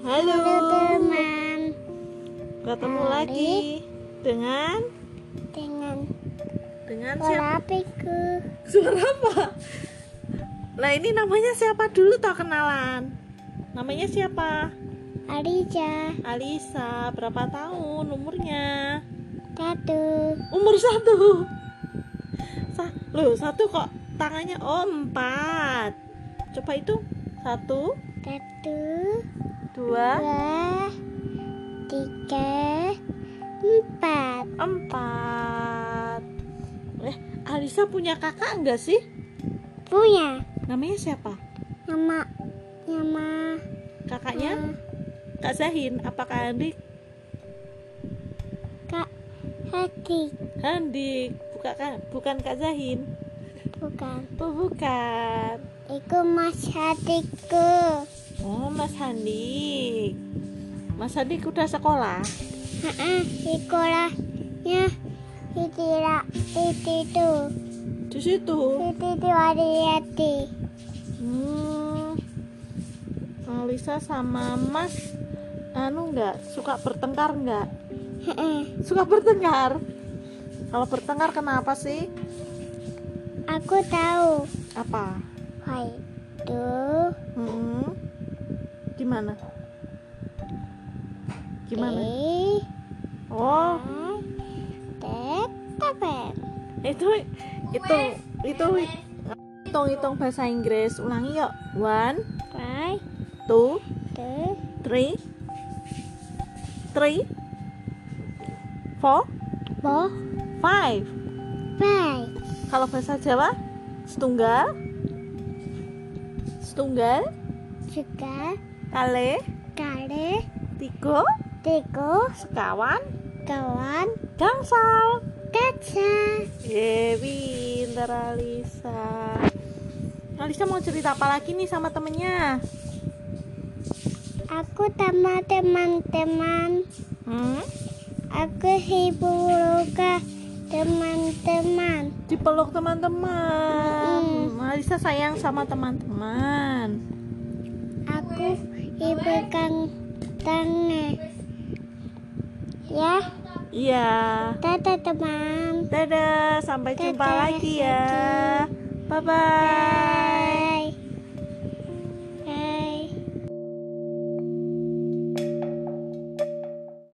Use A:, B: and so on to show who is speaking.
A: Halo
B: teman
A: ketemu lagi dengan
B: dengan
A: dengan siapa?
B: pola pikir
A: Suara apa? Lah ini namanya siapa dulu tau kenalan? Namanya siapa?
B: Arija
A: Alisa, berapa tahun umurnya?
B: satu
A: Umur satu. Sa loh, satu kok tangannya oh empat. Coba itu satu,
B: satu
A: dua,
B: dua tiga empat
A: empat. Eh, Alisa punya kakak enggak sih?
B: punya
A: Namanya siapa?
B: nama nama eh,
A: Kakaknya? Kak Zahin, apakah Handik?
B: kak hati
A: Handik, bukan Kak, bukan Kak Zahin.
B: bukan
A: Oh, bukan.
B: itu mas hatiku
A: Oh, Mas Handik. Mas Handik udah sekolah.
B: Heeh, sekolahnya tidak itu itu
A: Di situ.
B: itu itu hati
A: Hmm. Alisa sama Mas anu enggak suka bertengkar enggak?
B: Heeh,
A: Suka bertengkar. Kalau bertengkar kenapa sih?
B: aku tahu
A: Apa?
B: itu
A: Hmm. Gimana? Gimana?
B: di-
A: Oh,
B: Tetapen.
A: itu itu itu hitung hitung bahasa Inggris ulangi yuk one
B: Why
A: two
B: do
A: three three four
B: bo
A: five
B: why?
A: kalau bahasa Jawa setunggal setunggal
B: Juga
A: kali
B: kali
A: tiga
B: tiku
A: sekawan
B: kawan
A: gangsal
B: kaca.
A: Yeay, pinter Alisa Alisa mau cerita apa lagi nih sama temennya?
B: Aku sama teman-teman.
A: Hmm?
B: Aku hibur juga teman-teman.
A: dipeluk teman-teman.
B: Mm.
A: Alisa sayang sama teman-teman.
B: Aku hiburkan tangan. Ya,
A: Iya.
B: dadah teman.
A: Dadah, sampai jumpa
B: Dadah,
A: lagi ya. Bye bye.
B: Bye.